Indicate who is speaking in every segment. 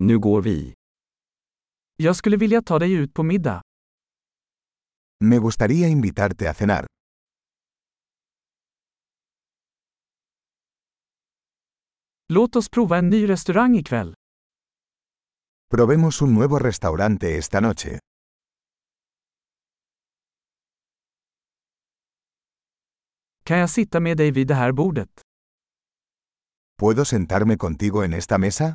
Speaker 1: Nu går vi.
Speaker 2: Jag skulle vilja ta dig ut på middag.
Speaker 3: Me gustaría invitarte a cenar.
Speaker 2: Låt oss prova en ny restaurang ikväll.
Speaker 3: Probemos un nuevo restaurante esta noche.
Speaker 2: Kan jag sitta med dig vid det här bordet?
Speaker 3: ¿Puedo sentarme contigo en esta mesa?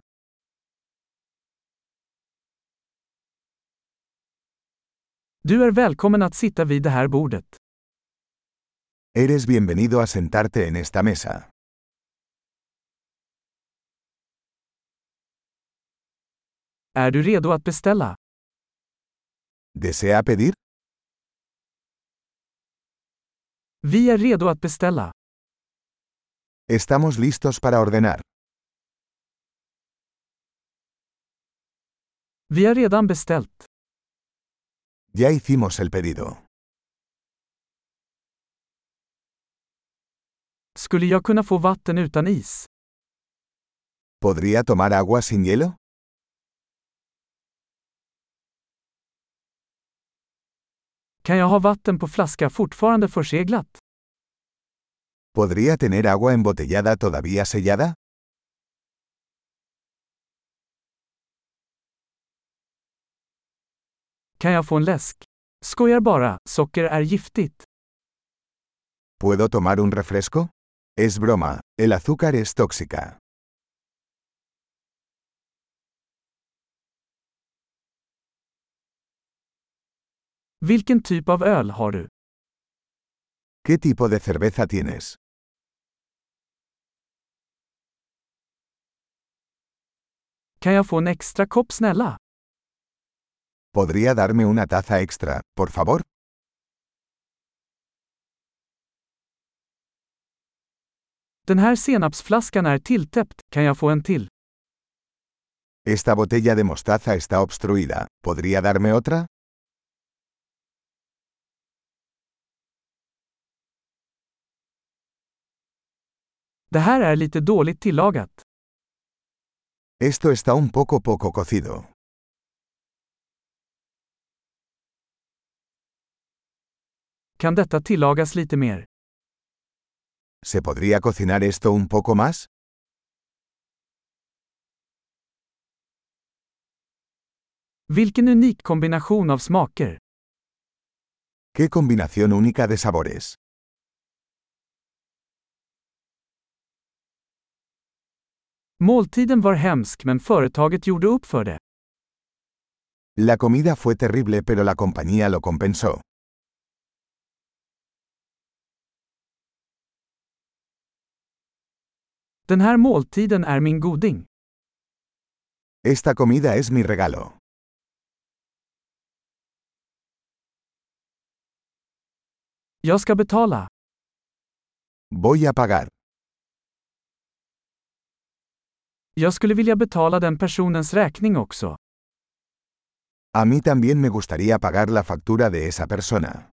Speaker 2: Du är välkommen att sitta vid det här bordet.
Speaker 3: Eres bienvenido a sentarte en esta mesa.
Speaker 2: Är du redo att beställa?
Speaker 3: ¿Desea pedir?
Speaker 2: Vi är redo att beställa.
Speaker 3: Estamos listos para ordenar.
Speaker 2: Vi har redan beställt.
Speaker 3: Ya hicimos el pedido.
Speaker 2: Skulle jag kunna få vatten utan is?
Speaker 3: ¿Podría tomar agua sin hielo?
Speaker 2: Kan jag ha vatten på flaska fortfarande förseglat?
Speaker 3: ¿Podría tener agua embotellada todavía sellada?
Speaker 2: Kan jag få en läsk? Skojar bara, socker är giftigt.
Speaker 3: ¿Puedo tomar un refresco? Es broma, el azúcar es tóxica.
Speaker 2: Vilken typ av öl har du?
Speaker 3: ¿Qué tipo de cerveza tienes?
Speaker 2: Kan jag få en extra kopp snälla?
Speaker 3: ¿Podría darme una taza extra, por favor?
Speaker 2: Den här senapsflaskan är tilltäppt, kan jag få en till?
Speaker 3: Esta botella de mostaza está obstruida. ¿Podría darme otra?
Speaker 2: Det här är lite dåligt tillagat.
Speaker 3: Esto está un poco poco cocido.
Speaker 2: Kan detta tillagas lite mer?
Speaker 3: ¿Se podría cocinar esto un poco más?
Speaker 2: Vilken unik kombination av smaker.
Speaker 3: ¿Qué combinación única de sabores?
Speaker 2: Måltiden var hemsk men företaget gjorde upp för det.
Speaker 3: La comida fue terrible pero la compañía lo compensó.
Speaker 2: Den här måltiden är min goding.
Speaker 3: Esta comida es mi regalo.
Speaker 2: Jag ska betala.
Speaker 3: Voy a pagar.
Speaker 2: Jag skulle vilja betala den personens räkning också.
Speaker 3: A mí también me gustaría pagar la factura de esa persona.